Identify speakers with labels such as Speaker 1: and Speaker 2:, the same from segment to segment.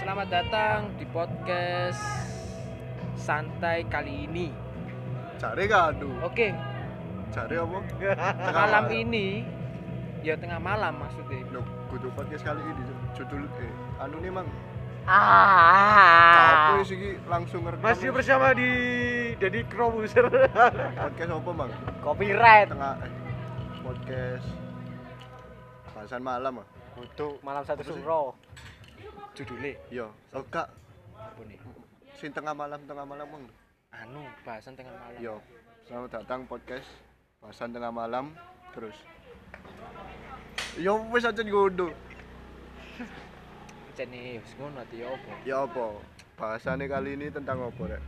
Speaker 1: Selamat datang di podcast santai kali ini.
Speaker 2: Cari gaduh.
Speaker 1: Oke,
Speaker 2: Cari apa?
Speaker 1: malam ini ya tengah malam maksudnya.
Speaker 2: Lo kudu podcast kali ini Cuk. judul eh anu nih mang.
Speaker 3: Ah.
Speaker 1: Ah.
Speaker 2: Tapi sih Ki, langsung ngerekam.
Speaker 4: Masih bersama di Deddy Crowbuser.
Speaker 2: podcast apa mang?
Speaker 3: Copyright.
Speaker 2: Tengah eh, podcast bahasan malam ah.
Speaker 3: Kudu malam satu
Speaker 2: Apa sih?
Speaker 3: suro.
Speaker 1: Judulnya
Speaker 2: Iya. Oh kak,
Speaker 1: apa nih?
Speaker 2: sing tengah malam tengah malam mang.
Speaker 1: Anu, bahasan tengah malam.
Speaker 2: Iya. Selamat datang podcast bahasan tengah malam terus. Yo wis aja ngono.
Speaker 1: Jadi wis ngono ati ya apa?
Speaker 2: Ya apa? Bahasannya kali ini tentang apa rek?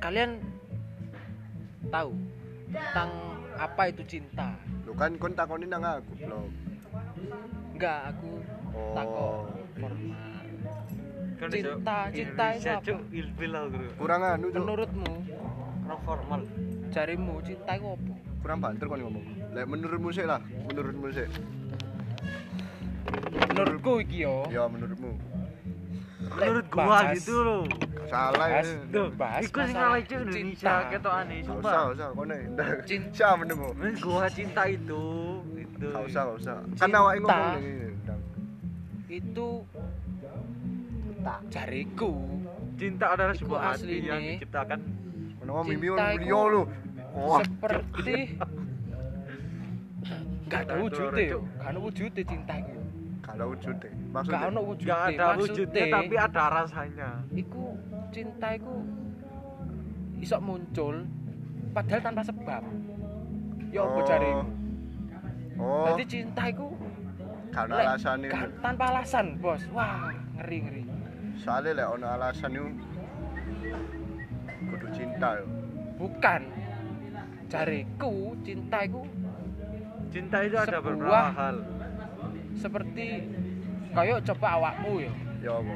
Speaker 1: Kalian tahu tentang apa itu cinta?
Speaker 2: Lu kan kon takonin nang aku, blog.
Speaker 1: Enggak, aku
Speaker 2: Oh.
Speaker 1: takon formal. Cinta, cinta itu apa?
Speaker 4: Kan Cuk, ilfil aku, Bro.
Speaker 2: Kurang anu Cuk.
Speaker 1: Menurutmu,
Speaker 4: Orang formal.
Speaker 1: jarimu cinta itu apa?
Speaker 2: kurang banter kon ngomong. Lek menurutmu sih lah, menurutmu sih.
Speaker 1: Menurutku iki yo.
Speaker 2: Ya menurutmu.
Speaker 4: Menurut
Speaker 1: Lek
Speaker 4: gua
Speaker 1: bahas-
Speaker 4: gitu loh.
Speaker 2: Salah
Speaker 1: Bahas,
Speaker 2: ini.
Speaker 1: duh, bahas
Speaker 4: Iku sing
Speaker 1: masalah
Speaker 4: ngalahin Cuk, Indonesia
Speaker 1: cinta.
Speaker 4: ketok aneh
Speaker 2: Gak usah,
Speaker 4: sumpah.
Speaker 2: gak usah, kon ae. Ntar.
Speaker 1: Cin-
Speaker 2: Siapa menemu?
Speaker 4: Menurut gua cinta itu itu.
Speaker 2: Gak usah, gak usah. Kan awak
Speaker 1: Cinta.
Speaker 2: ngomong ini. Ndang.
Speaker 1: itu
Speaker 3: Cinta.
Speaker 1: jariku
Speaker 4: Cinta adalah
Speaker 1: Iku
Speaker 4: sebuah hati
Speaker 1: asline.
Speaker 4: yang diciptakan
Speaker 2: Menawa mimi
Speaker 1: Cinta iku-
Speaker 2: beliau lu. Wah,
Speaker 1: seperti nggak ada
Speaker 4: Aduh,
Speaker 1: wujudnya
Speaker 4: Cuk.
Speaker 1: yo. nggak ada wujudnya cinta itu
Speaker 2: kalau wujudnya.
Speaker 1: nggak ada
Speaker 2: Maksudnya
Speaker 1: wujudnya
Speaker 4: enggak ada wujudnya
Speaker 1: Maksudnya,
Speaker 4: tapi ada rasanya.
Speaker 1: iku cinta iku isok muncul padahal tanpa sebab ya apa
Speaker 2: Oh.
Speaker 1: jarimu
Speaker 2: Oh,
Speaker 1: jadi cinta iku
Speaker 2: karena
Speaker 1: lek-
Speaker 2: alasan ini.
Speaker 1: kan- tanpa alasan bos wah ngeri ngeri
Speaker 2: Soalnya lek ono alasan itu kudu cinta yo.
Speaker 1: bukan jariku cinta iku
Speaker 4: Cinta itu ada
Speaker 1: Sebuah-
Speaker 4: beberapa hal.
Speaker 1: seperti kayak coba awakmu ya
Speaker 2: Ya apa?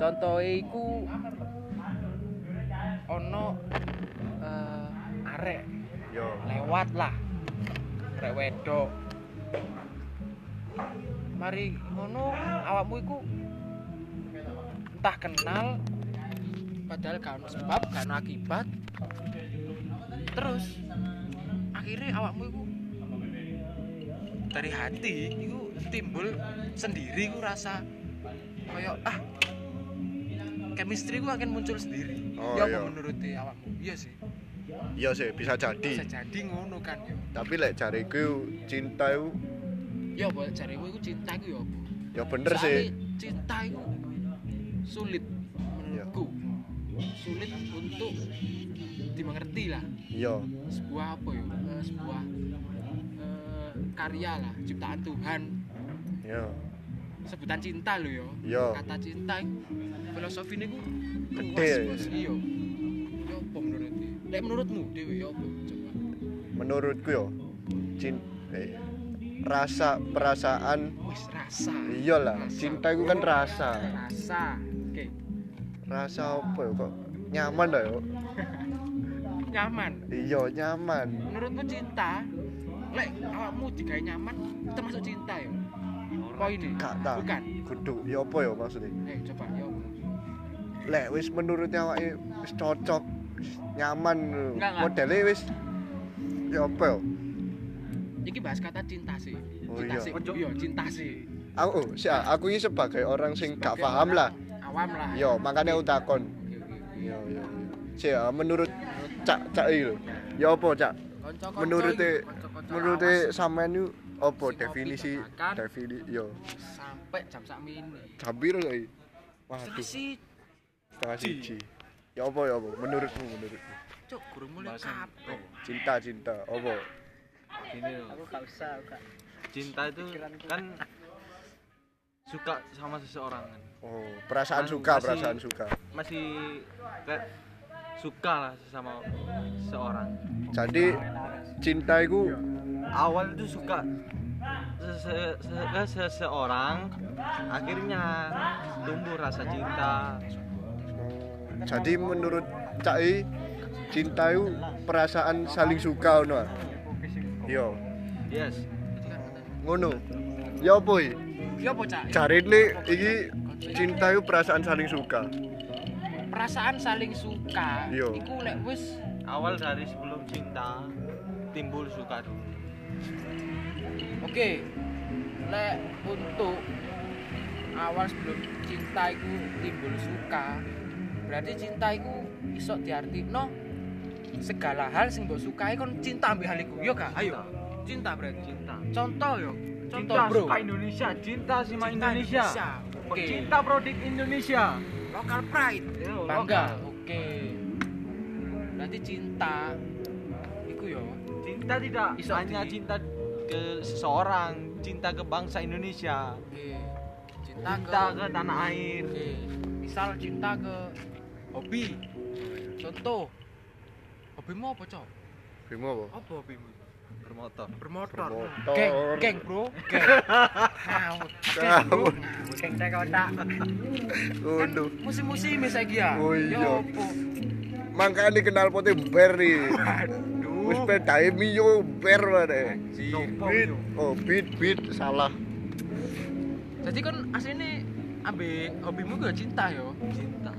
Speaker 1: contohe iku ono eh, arek
Speaker 2: Yo.
Speaker 1: lewat lah arek wedok mari ngono awakmu iku entah kenal padahal gak ono sebab gak ono akibat terus akhirnya awakmu iku dari hati iku timbul sendiri iku rasa koyo ah chemistry ku akan muncul sendiri
Speaker 2: Oh,
Speaker 1: ya apa
Speaker 2: iya.
Speaker 1: menurut awakmu iya sih
Speaker 2: Iya sih bisa
Speaker 1: bisa
Speaker 2: jadi.
Speaker 1: jadi ngono kan yo
Speaker 2: Tapi lek jariku cinta itu
Speaker 1: ya apa jarimu iku cinta iku ya apa
Speaker 2: ya bener
Speaker 1: Soale
Speaker 2: sih.
Speaker 1: cinta iku sulit menurutku sulit untuk dimengerti lah
Speaker 2: Iya.
Speaker 1: sebuah apa ya eh, sebuah eh, karya lah ciptaan Tuhan
Speaker 2: Iya.
Speaker 1: sebutan cinta lo yo
Speaker 2: Iya.
Speaker 1: kata cinta iku, filosofi ini ku
Speaker 2: Gede.
Speaker 1: luas bos iyo ya apa menurutmu lek menurutmu dewi ya apa coba
Speaker 2: menurutku yo cin eh, rasa perasaan
Speaker 1: wis rasa
Speaker 2: iyalah
Speaker 1: Rasa.
Speaker 2: cinta itu kan rasa
Speaker 1: rasa oke
Speaker 2: rasa apa ya kok nyaman lah yo
Speaker 1: nyaman
Speaker 2: iya nyaman
Speaker 1: menurutku cinta lek awakmu digawe nyaman termasuk cinta ya poin ini
Speaker 2: gak tak
Speaker 1: bukan
Speaker 2: kudu ya apa ya maksudnya
Speaker 1: eh coba ya
Speaker 2: lek wis menurutnya awake wis cocok wis nyaman
Speaker 1: Enggak, enggak.
Speaker 2: modelnya wis ya apa ya
Speaker 1: iki bahas kata cinta sih
Speaker 2: Oh,
Speaker 1: cinta
Speaker 2: iya.
Speaker 1: sih iya cinta sih
Speaker 2: aku oh, sih, aku ini sebagai orang sing gak
Speaker 1: Sebagai
Speaker 2: paham lah
Speaker 1: orang awam lah
Speaker 2: yo makanya aku takon
Speaker 1: Oke, oke, oke.
Speaker 2: iya iya iya. sih ah, menurut cak cak itu ya apa cak
Speaker 1: Konco-konco
Speaker 2: menurut
Speaker 1: iki, konco-konco
Speaker 2: menurut
Speaker 1: awas
Speaker 2: sampean itu apa
Speaker 1: Si
Speaker 2: definisi
Speaker 1: kopi tebakan.
Speaker 2: definisi yo
Speaker 1: sampai jam sak mini
Speaker 2: hampir lagi waduh
Speaker 1: kasih
Speaker 2: setengah siji ya apa ya apa menurutmu menurutmu
Speaker 1: cuk guru mulai kabeh
Speaker 2: cinta cinta apa
Speaker 4: Gini loh.
Speaker 3: Aku gak usah, aku gak.
Speaker 4: Cinta itu kan suka sama seseorang kan.
Speaker 2: oh perasaan
Speaker 4: Kan
Speaker 2: suka
Speaker 4: masih-
Speaker 2: perasaan suka
Speaker 4: masih kayak suka lah sama seorang
Speaker 2: jadi cinta eh, itu
Speaker 4: awal itu suka sese- se- ke seseorang akhirnya tumbuh rasa cinta
Speaker 2: oh, jadi menurut cak I, cinta itu perasaan saling suka ngono ah? yo
Speaker 4: yes
Speaker 2: ngono ya apa i?
Speaker 1: Ki apa cak?
Speaker 2: cari nih iki cinta itu perasaan saling suka
Speaker 1: Perasaan saling suka.
Speaker 2: Iya.
Speaker 1: Iku lek wis
Speaker 4: awal dari sebelum cinta timbul suka dulu
Speaker 1: Oke, lek untuk awal sebelum cinta itu timbul suka, berarti cinta itu iso diartikno segala hal sing mbok sukai kon cinta ambek hal iku. Yo gak? Ayo. Cinta berarti.
Speaker 4: cinta
Speaker 1: Contoh yo. Contoh,
Speaker 4: cinta
Speaker 1: Bro.
Speaker 4: suka Indonesia cinta sima
Speaker 1: Cinta
Speaker 4: Indonesia,
Speaker 1: Indonesia. Oke.
Speaker 4: cinta produk Indonesia
Speaker 1: Local pride.
Speaker 4: Yo,
Speaker 1: Bangga. Oke. Berarti cinta iku yo
Speaker 4: cinta tidak
Speaker 1: Iso
Speaker 4: hanya
Speaker 1: di-
Speaker 4: cinta ke seseorang cinta ke bangsa Indonesia
Speaker 1: Oke. Cinta,
Speaker 4: cinta
Speaker 1: ke
Speaker 4: ke tanah air
Speaker 1: Oke, misal cinta ke hobi. Contoh, hobimu apa, Cok?
Speaker 2: Bimo apa?
Speaker 1: Apa hobimu?
Speaker 4: bermotor
Speaker 1: Bermotor.
Speaker 2: Bermotor.
Speaker 1: Geng, geng, Bro. Geng. Ngawut. Geng, Bro. Ngawut.
Speaker 2: Ngawut.
Speaker 3: Cek cek kotak.
Speaker 1: Kan
Speaker 2: Waduh,
Speaker 1: musim-musim saiki ya.
Speaker 2: Oh, iya.
Speaker 1: Ya apa?
Speaker 2: makanya kenal potnya ber nih. Wis
Speaker 1: Aduh.
Speaker 2: pedae miyo ber mana?
Speaker 4: Nopo,
Speaker 2: Beat,
Speaker 4: yo.
Speaker 2: oh beat beat salah.
Speaker 1: Jadi kan aslinya ambil hobimu gue cinta yo.
Speaker 4: cinta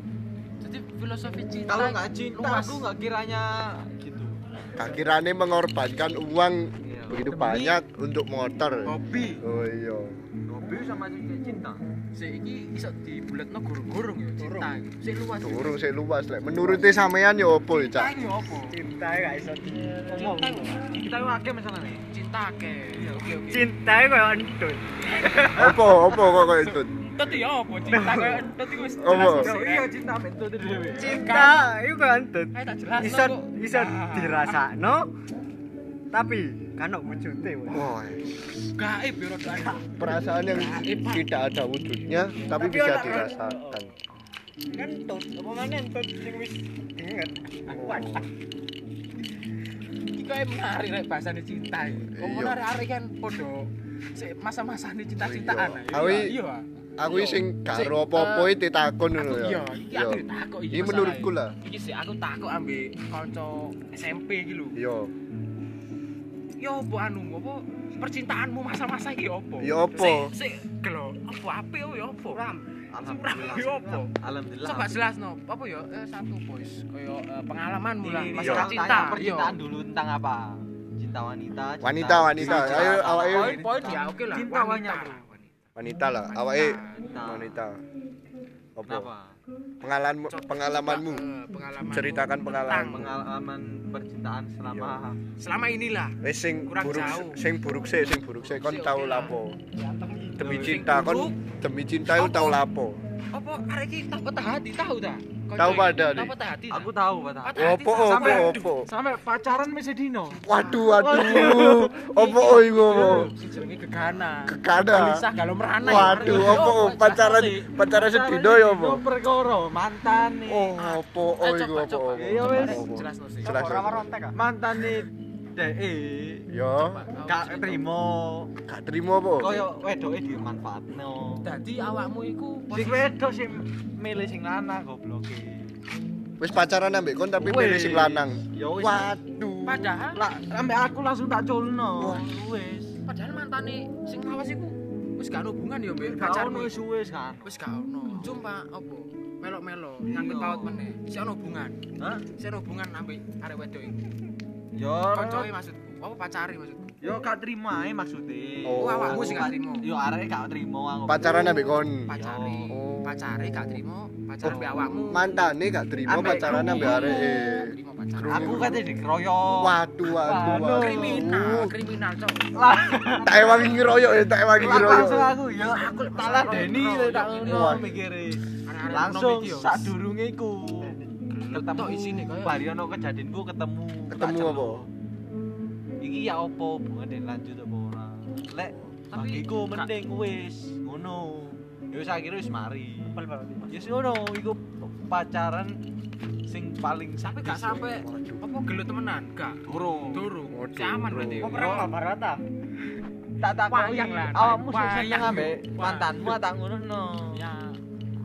Speaker 1: Jadi filosofi cinta.
Speaker 4: kalau nggak cinta
Speaker 1: luas.
Speaker 4: aku nggak kiranya gitu
Speaker 2: Akhirnya mengorbankan uang
Speaker 4: Iya.
Speaker 2: begitu
Speaker 1: Demi-
Speaker 2: banyak untuk motor.
Speaker 1: hobi.
Speaker 2: Oh iya.
Speaker 4: hobi sama cinta
Speaker 1: Seiki iso dibuletno gurung-gurung ya cinta. iki. Sik luas.
Speaker 2: Durung sik luas lek menuruti sampean ya opo ya,
Speaker 1: Cinta
Speaker 2: Cak?
Speaker 1: iki apa?
Speaker 3: Cinta ya gak iso diomong.
Speaker 1: Cinta iki.
Speaker 4: kita pakai misalnya nih
Speaker 1: cinta ke oke oke
Speaker 3: Cinta ya koyo entut.
Speaker 2: Opo opo kok kok itu?
Speaker 1: tapi ya apa cinta kayak tapi wis
Speaker 2: Apa?
Speaker 1: jelas
Speaker 4: Yo,
Speaker 1: sih,
Speaker 4: iya Kan?
Speaker 1: kan?
Speaker 4: cinta itu dewe
Speaker 3: Cinta ya koyo entut.
Speaker 1: Ayo tak
Speaker 4: Nah,
Speaker 1: jelas
Speaker 3: Iso iso dirasakno tapi kan kok wujute.
Speaker 2: Wah,
Speaker 1: gaib ya rodoan
Speaker 2: perasaan yang tidak ada wujudnya
Speaker 3: Tapi
Speaker 2: tapi bisa
Speaker 3: otak-
Speaker 2: dirasakan.
Speaker 3: Entut, omongane entut sing wis inget.
Speaker 2: Oh.
Speaker 1: iki kayak menarik rek bahasane cinta iki
Speaker 2: Iya.
Speaker 1: omongan arek-arek kan podo sik masa-masane cinta-cintaan
Speaker 2: Iya.
Speaker 1: ayo.
Speaker 2: Awi-
Speaker 1: iya ah.
Speaker 2: Aku
Speaker 1: Iya.
Speaker 2: sing
Speaker 1: Sik,
Speaker 2: karo apa-apa
Speaker 1: eh,
Speaker 2: iki ditakon
Speaker 1: aku
Speaker 2: ngono
Speaker 1: iya
Speaker 2: ya.
Speaker 1: iki aku takok
Speaker 2: Ini menurutku lah.
Speaker 1: iki sih aku takok ambek kanca SMP iki lho
Speaker 2: Iya.
Speaker 1: yo opo anu opo percintaanmu masa-masa iki opo
Speaker 2: Ya opo?
Speaker 1: sik gelo opo ape yo opo
Speaker 4: alhamdulillah
Speaker 1: Yo, apa?
Speaker 4: alhamdulillah
Speaker 1: Coba jelas no, apa ya eh, satu boys, koyo eh, pengalamanmu lah
Speaker 4: Ini
Speaker 1: masalah
Speaker 4: tanya
Speaker 1: cinta, yo.
Speaker 4: percintaan dulu tentang apa cinta wanita cinta-
Speaker 2: Wanita, wanita.
Speaker 4: cinta-
Speaker 2: Ayo,
Speaker 4: cinta-
Speaker 2: awak- ayo.
Speaker 1: Poin-poin ya oke lah.
Speaker 4: Cinta banyak, Bro.
Speaker 2: Wanita lah, awake
Speaker 4: Wanita.
Speaker 2: wanita. Opo?
Speaker 4: kenapa
Speaker 2: Pengalaman
Speaker 1: Coba-
Speaker 2: pengalamanmu.
Speaker 1: coba, eh, pengalamanmu
Speaker 2: Ceritakan pengalaman.
Speaker 1: tentang
Speaker 4: pengalaman percintaan selama
Speaker 1: Selama inilah
Speaker 2: Wis sing
Speaker 1: Kurang
Speaker 2: buruk
Speaker 1: jauh.
Speaker 2: sing buruk sih, sing buruk sih kon
Speaker 1: Sik,
Speaker 2: tau
Speaker 1: oke lah.
Speaker 2: lapo. Demi
Speaker 1: Sing
Speaker 2: cinta
Speaker 1: buruk.
Speaker 2: kon demi cinta itu tau lapo.
Speaker 1: apa arek iki tak patah hati tahu ta? Kocok
Speaker 2: Tahu
Speaker 1: iki,
Speaker 2: padha,
Speaker 1: Tahu
Speaker 2: Dik.
Speaker 1: patah hati. ta?
Speaker 4: aku tahu Pak.
Speaker 1: Patah hati,
Speaker 2: Opo
Speaker 1: ta?
Speaker 2: opo
Speaker 4: sampai-
Speaker 2: opo.
Speaker 4: sampai pacaran masih dino
Speaker 2: Waduh waduh. Opo oi ngono.
Speaker 1: Sing jenenge gegana.
Speaker 2: Kekada.
Speaker 1: Gelisah galau merana. ya,
Speaker 2: Waduh
Speaker 1: arek.
Speaker 2: opo
Speaker 1: Yo,
Speaker 2: pacaran
Speaker 1: jelas, Dik.
Speaker 2: pacaran sedino ya opo.
Speaker 4: perkoro mantan nih
Speaker 2: Oh opo
Speaker 1: Eh,
Speaker 2: oi
Speaker 1: coba,
Speaker 2: opo.
Speaker 1: coba.
Speaker 2: opo,
Speaker 4: Iya, wis.
Speaker 2: opo.
Speaker 1: Jelas no sih.
Speaker 2: Jelas.
Speaker 3: Ora merontek ah.
Speaker 4: mantan nih de
Speaker 2: Yo,
Speaker 1: Oh,
Speaker 4: gak terima
Speaker 2: gak terima apa?
Speaker 4: koyo wedoke dimanfaatno
Speaker 1: Dadi awakmu iku
Speaker 4: sing wedok sing milih sing lanang gobloke
Speaker 2: Wis pacaran ambek kon tapi milih sing lanang.
Speaker 4: ya wis
Speaker 2: Waduh.
Speaker 1: padahal
Speaker 4: lah ambek aku langsung tak culno wis
Speaker 1: padahal mantane sing lawas iku wis gak ada hubungan ya mbek
Speaker 4: gak
Speaker 1: pacarmu
Speaker 4: ono
Speaker 1: iku.
Speaker 4: wis wis kan
Speaker 1: wis gak ono cuma apa melo-melo
Speaker 4: Iya.
Speaker 1: nyangkut paut meneh sik ono hubungan
Speaker 4: Hah?
Speaker 1: sik ono hubungan ambek arek wedok iku
Speaker 4: yo
Speaker 1: kancoe maksudku apa pacari maksudku
Speaker 4: yo gak terima maksudnya
Speaker 2: Oh,
Speaker 1: awakmu sing gak terima
Speaker 4: yo arek gak terima aku
Speaker 2: Pacaran ambek kon.
Speaker 1: pacari
Speaker 2: Oh.
Speaker 1: pacari gak terima pacaran
Speaker 2: Oh.
Speaker 1: ambek awakmu
Speaker 2: Mantane gak terima
Speaker 4: Ambek
Speaker 2: pacaran ambek
Speaker 4: krungu.
Speaker 2: arek. e.
Speaker 1: Gak terima pacaran
Speaker 4: aku kan jadi keroyo
Speaker 2: Waduh waduh.
Speaker 4: Waduh.
Speaker 2: waduh.
Speaker 1: kriminal
Speaker 4: Oh.
Speaker 1: kriminal cok
Speaker 4: lah
Speaker 2: Tak ewangi ngeroyok ya, tak ewangi
Speaker 4: lah,
Speaker 2: ngeroyok.
Speaker 4: langsung aku yo aku tak ladeni
Speaker 1: Keroyo,
Speaker 4: tak
Speaker 1: keroyo.
Speaker 4: ngono mikire
Speaker 1: Arek-arek
Speaker 4: langsung
Speaker 1: ekonomi iki, yo.
Speaker 4: sadurunge iku ketemu
Speaker 1: Tok isine kaya.
Speaker 4: bari ono kejadianku ketemu
Speaker 2: Ketemu
Speaker 4: Tak
Speaker 2: apa?
Speaker 4: celuk. iki ya apa hubungane lanjut apa ora lek
Speaker 1: Tapi-
Speaker 4: bagiku mending wis ngono ya wis akhirnya wis mari ya wis ngono iku pacaran sing paling
Speaker 1: tapi gak sampai apa gelo temenan gak
Speaker 4: durung
Speaker 1: durung
Speaker 2: Waduh,
Speaker 1: Si aman berarti
Speaker 3: Kok perang Mahabharata?
Speaker 4: tak takoki
Speaker 1: Wayang lah,
Speaker 4: awakmu sing
Speaker 1: wayang.
Speaker 4: seneng ambek mantanmu tak ngono no
Speaker 1: ya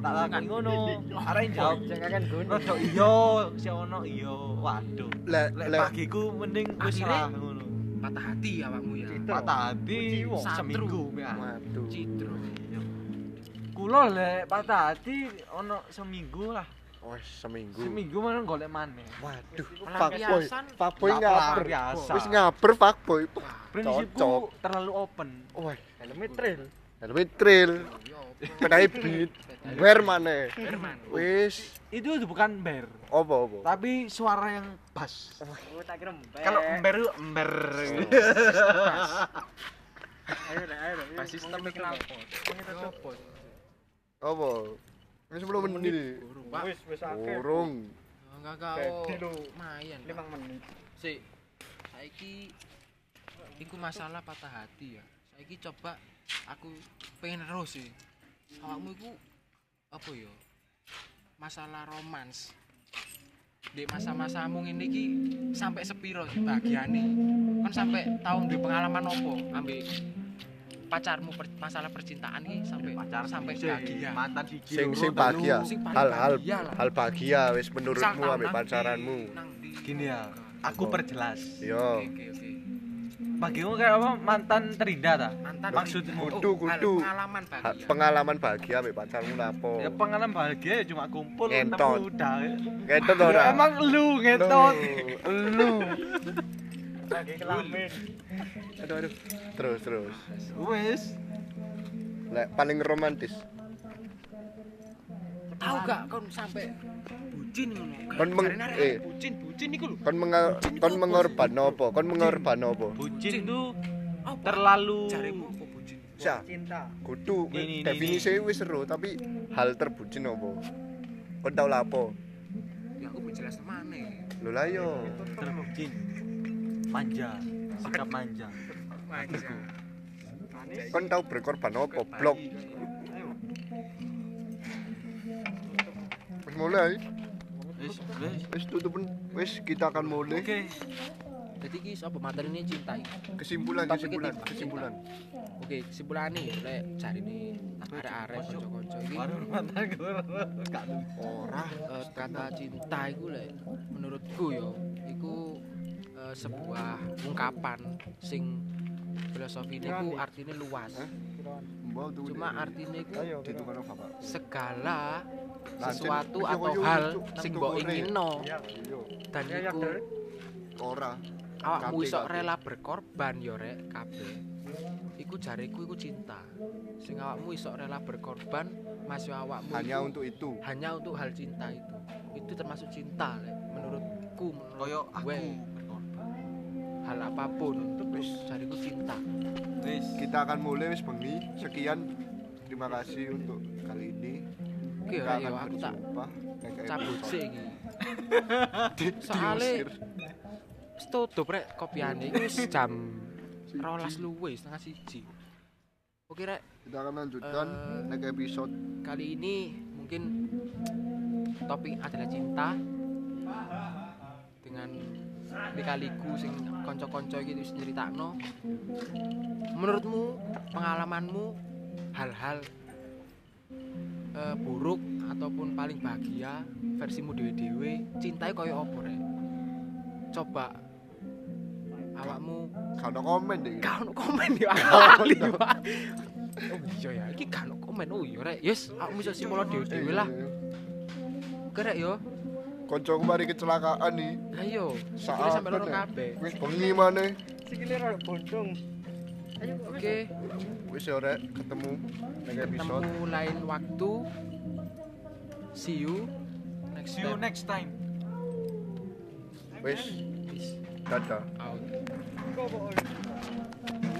Speaker 4: tak
Speaker 3: Hmm.
Speaker 4: takoki ngono
Speaker 3: Iya,
Speaker 4: arek jawab
Speaker 3: Jangan kan gunung.
Speaker 4: rodok iya si ono iya waduh
Speaker 2: Lek
Speaker 4: lek
Speaker 2: lek
Speaker 4: bagiku mending wis
Speaker 1: Akhirnya-
Speaker 4: lah ngono
Speaker 1: patah hati awakmu ya
Speaker 3: Citro.
Speaker 4: patah hati
Speaker 3: Jiwa.
Speaker 4: seminggu ya
Speaker 2: waduh.
Speaker 1: citro
Speaker 4: Iya. kula lek patah hati ono seminggu lah.
Speaker 2: Wes seminggu.
Speaker 4: Seminggu mana golek maneh.
Speaker 2: Waduh, fuckboy.
Speaker 1: Pelampiasan.
Speaker 2: Fuckboy
Speaker 4: Nggak
Speaker 2: ngaber.
Speaker 4: pelampiasan.
Speaker 2: Wis ngaber fuckboy. Cocok.
Speaker 4: Prinsipku terlalu open.
Speaker 2: Wah,
Speaker 3: Helmnya trail.
Speaker 2: helmnya trail.
Speaker 1: Yo,
Speaker 2: Penae beat. Wer maneh.
Speaker 1: Herman.
Speaker 2: Wis
Speaker 4: Itu bukan ember,
Speaker 2: apa-apa.
Speaker 4: tapi suara yang bass.
Speaker 3: Oh, tak kira mbak.
Speaker 4: Kalau ember itu ember.
Speaker 3: ayo deh, ayo deh.
Speaker 1: Basis sistemik kenapa? Kenapa?
Speaker 2: Apa? Wis 10 menit.
Speaker 1: Burung, Pak.
Speaker 3: Wis wis akeh.
Speaker 2: Urung.
Speaker 1: Enggak Oh, kau.
Speaker 3: Jadi lu.
Speaker 1: Mayan.
Speaker 3: 5 menit.
Speaker 1: Sik. Saiki iku masalah patah hati ya. Saiki coba aku pengen terus sih. Awakmu iku apa ya? Masalah romans. Di masa-masamu ngene iki sampai sepiro sih bahagiane? Kan sampai tahun di pengalaman opo ambek pacarmu per- masalah percintaan iki sampai
Speaker 4: Pacar
Speaker 1: sampai
Speaker 4: siji,
Speaker 3: Iya.
Speaker 1: bahagia.
Speaker 4: Mantan siji.
Speaker 2: Sing
Speaker 4: loro,
Speaker 2: sing
Speaker 4: telu.
Speaker 2: bahagia.
Speaker 1: Sing paling
Speaker 2: Hal-hal
Speaker 1: bahagia lah.
Speaker 2: hal bahagia wis
Speaker 1: Misal
Speaker 2: menurutmu
Speaker 1: tau nang
Speaker 2: ambek
Speaker 1: ndi,
Speaker 2: pacaranmu.
Speaker 1: nang ndi.
Speaker 4: Gini ya, aku
Speaker 2: Apa?
Speaker 4: perjelas.
Speaker 1: Oke
Speaker 2: Yo.
Speaker 1: oke oke.
Speaker 4: Bagimu kayak apa mantan terindah ta?
Speaker 1: Mantan Oh,
Speaker 4: Maksudmu?
Speaker 2: Kudu, kudu.
Speaker 1: Pengalaman
Speaker 2: Ha-
Speaker 1: bahagia.
Speaker 2: Pengalaman bahagia ambek pacarmu lapo?
Speaker 4: Ya pengalaman bahagia ya cuma kumpul
Speaker 2: Ngentot.
Speaker 4: ketemu udah.
Speaker 2: Ketot
Speaker 4: Ya,
Speaker 2: ora.
Speaker 4: emang lu ngetot.
Speaker 2: Lu.
Speaker 3: Pakai kelamin.
Speaker 2: Aduh aduh. Terus terus.
Speaker 4: Wes.
Speaker 2: Lek paling romantis.
Speaker 1: tahu gak kon sampai bucin ngono
Speaker 2: Kon meng-
Speaker 1: Jarene arek
Speaker 2: eh.
Speaker 1: bucin bucin iku lho
Speaker 2: Kon menga- kon mengorban apa? Kon mengorban apa?
Speaker 4: Bucin tuh
Speaker 1: Apa?
Speaker 4: terlalu
Speaker 1: jaremu apa bucin
Speaker 2: Oh, Sa,
Speaker 3: Cinta.
Speaker 2: kudu
Speaker 4: Ini, ini,
Speaker 2: definisi wis seru tapi hal terbucin apa? Kon tau lapo?
Speaker 1: ya aku menjelas temane
Speaker 2: Lho lah yo.
Speaker 4: terbucin. Manja, sikap manja.
Speaker 1: manja
Speaker 2: Kon tau berkorban apa? Blok. Wis mulai.
Speaker 4: Wes, wes.
Speaker 2: Wis tutupin. Wis kita akan mulai
Speaker 4: Oke.
Speaker 1: jadi iki sapa materi ini cinta iki
Speaker 2: kesimpulan
Speaker 1: Tapi
Speaker 2: kesimpulan
Speaker 1: kita-
Speaker 2: kesimpulan.
Speaker 1: oke kesimpulannya lek jarine arek-arek kanca-kanca iki
Speaker 4: Baru mantan gue gak
Speaker 2: Ora.
Speaker 1: eh, kata cinta iku lek menurutku yo iku eh, sebuah ungkapan sing filosofi niku artinya luas
Speaker 2: Mbok tuh.
Speaker 1: cuma artinya iku
Speaker 2: ayo ditukar bapak.
Speaker 1: segala
Speaker 2: Nah,
Speaker 1: sesuatu
Speaker 2: jadi-
Speaker 1: atau
Speaker 2: yo, yo,
Speaker 1: hal
Speaker 2: cuk,
Speaker 1: sing
Speaker 2: nang
Speaker 1: mbok
Speaker 2: dukure.
Speaker 1: ingino
Speaker 2: Yo.
Speaker 1: dan
Speaker 3: Ya, ya,
Speaker 1: iku
Speaker 3: Dre.
Speaker 2: Ora.
Speaker 1: awakmu
Speaker 2: Kabeh,
Speaker 1: iso
Speaker 2: kabeh.
Speaker 1: rela berkorban yo rek kabeh iku jariku iku cinta sing awakmu iso rela berkorban masih awakmu
Speaker 2: Hanya
Speaker 1: iku-
Speaker 2: untuk itu.
Speaker 1: hanya untuk hal cinta itu itu termasuk cinta lek menurutku menurut
Speaker 4: Koyo aku.
Speaker 1: gue, hal apapun terus jariku cinta
Speaker 4: Wes.
Speaker 2: Kita akan mulai wis bengi. Sekian. Terima kasih untuk kali ini.
Speaker 1: oke
Speaker 2: Kita
Speaker 1: rek
Speaker 2: akan
Speaker 1: yo aku tak
Speaker 2: berjumpa. Nek
Speaker 1: cabut
Speaker 2: episode
Speaker 1: sih iki
Speaker 2: di-
Speaker 1: Soale-
Speaker 2: diusir.
Speaker 1: Wis tutup rek kopiane iku wis jam rolas luwe setengah siji oke rek
Speaker 2: kita akan lanjutkan
Speaker 1: Eh,
Speaker 2: next episode
Speaker 1: kali ini mungkin topik adalah cinta dengan dikaliku sing konco-konco gitu nyeritakno menurutmu pengalamanmu hal-hal eh, buruk ataupun paling bahagia versimu dewe-dewe cintai koyo opo rek coba awakmu
Speaker 2: kalau ada komen deh
Speaker 1: gak ono komen ya ahli Pak. oh iya ya iki gak ono komen oh iya rek yes aku bisa simpulan dhewe-dhewe lah oke rek yo
Speaker 2: koncoku mari kecelakaan nih
Speaker 1: ayo
Speaker 2: Saat
Speaker 1: sikile sampe loro
Speaker 2: bener.
Speaker 1: kabeh
Speaker 2: wis bengi maneh
Speaker 3: Sikile ora bodong. Ayo,
Speaker 1: oke
Speaker 2: wis ya rek ketemu next episode
Speaker 1: ketemu lain waktu see you next
Speaker 4: See you
Speaker 1: time
Speaker 4: next time.
Speaker 2: wis
Speaker 1: Peace
Speaker 2: dadah
Speaker 1: out
Speaker 3: Kok kok.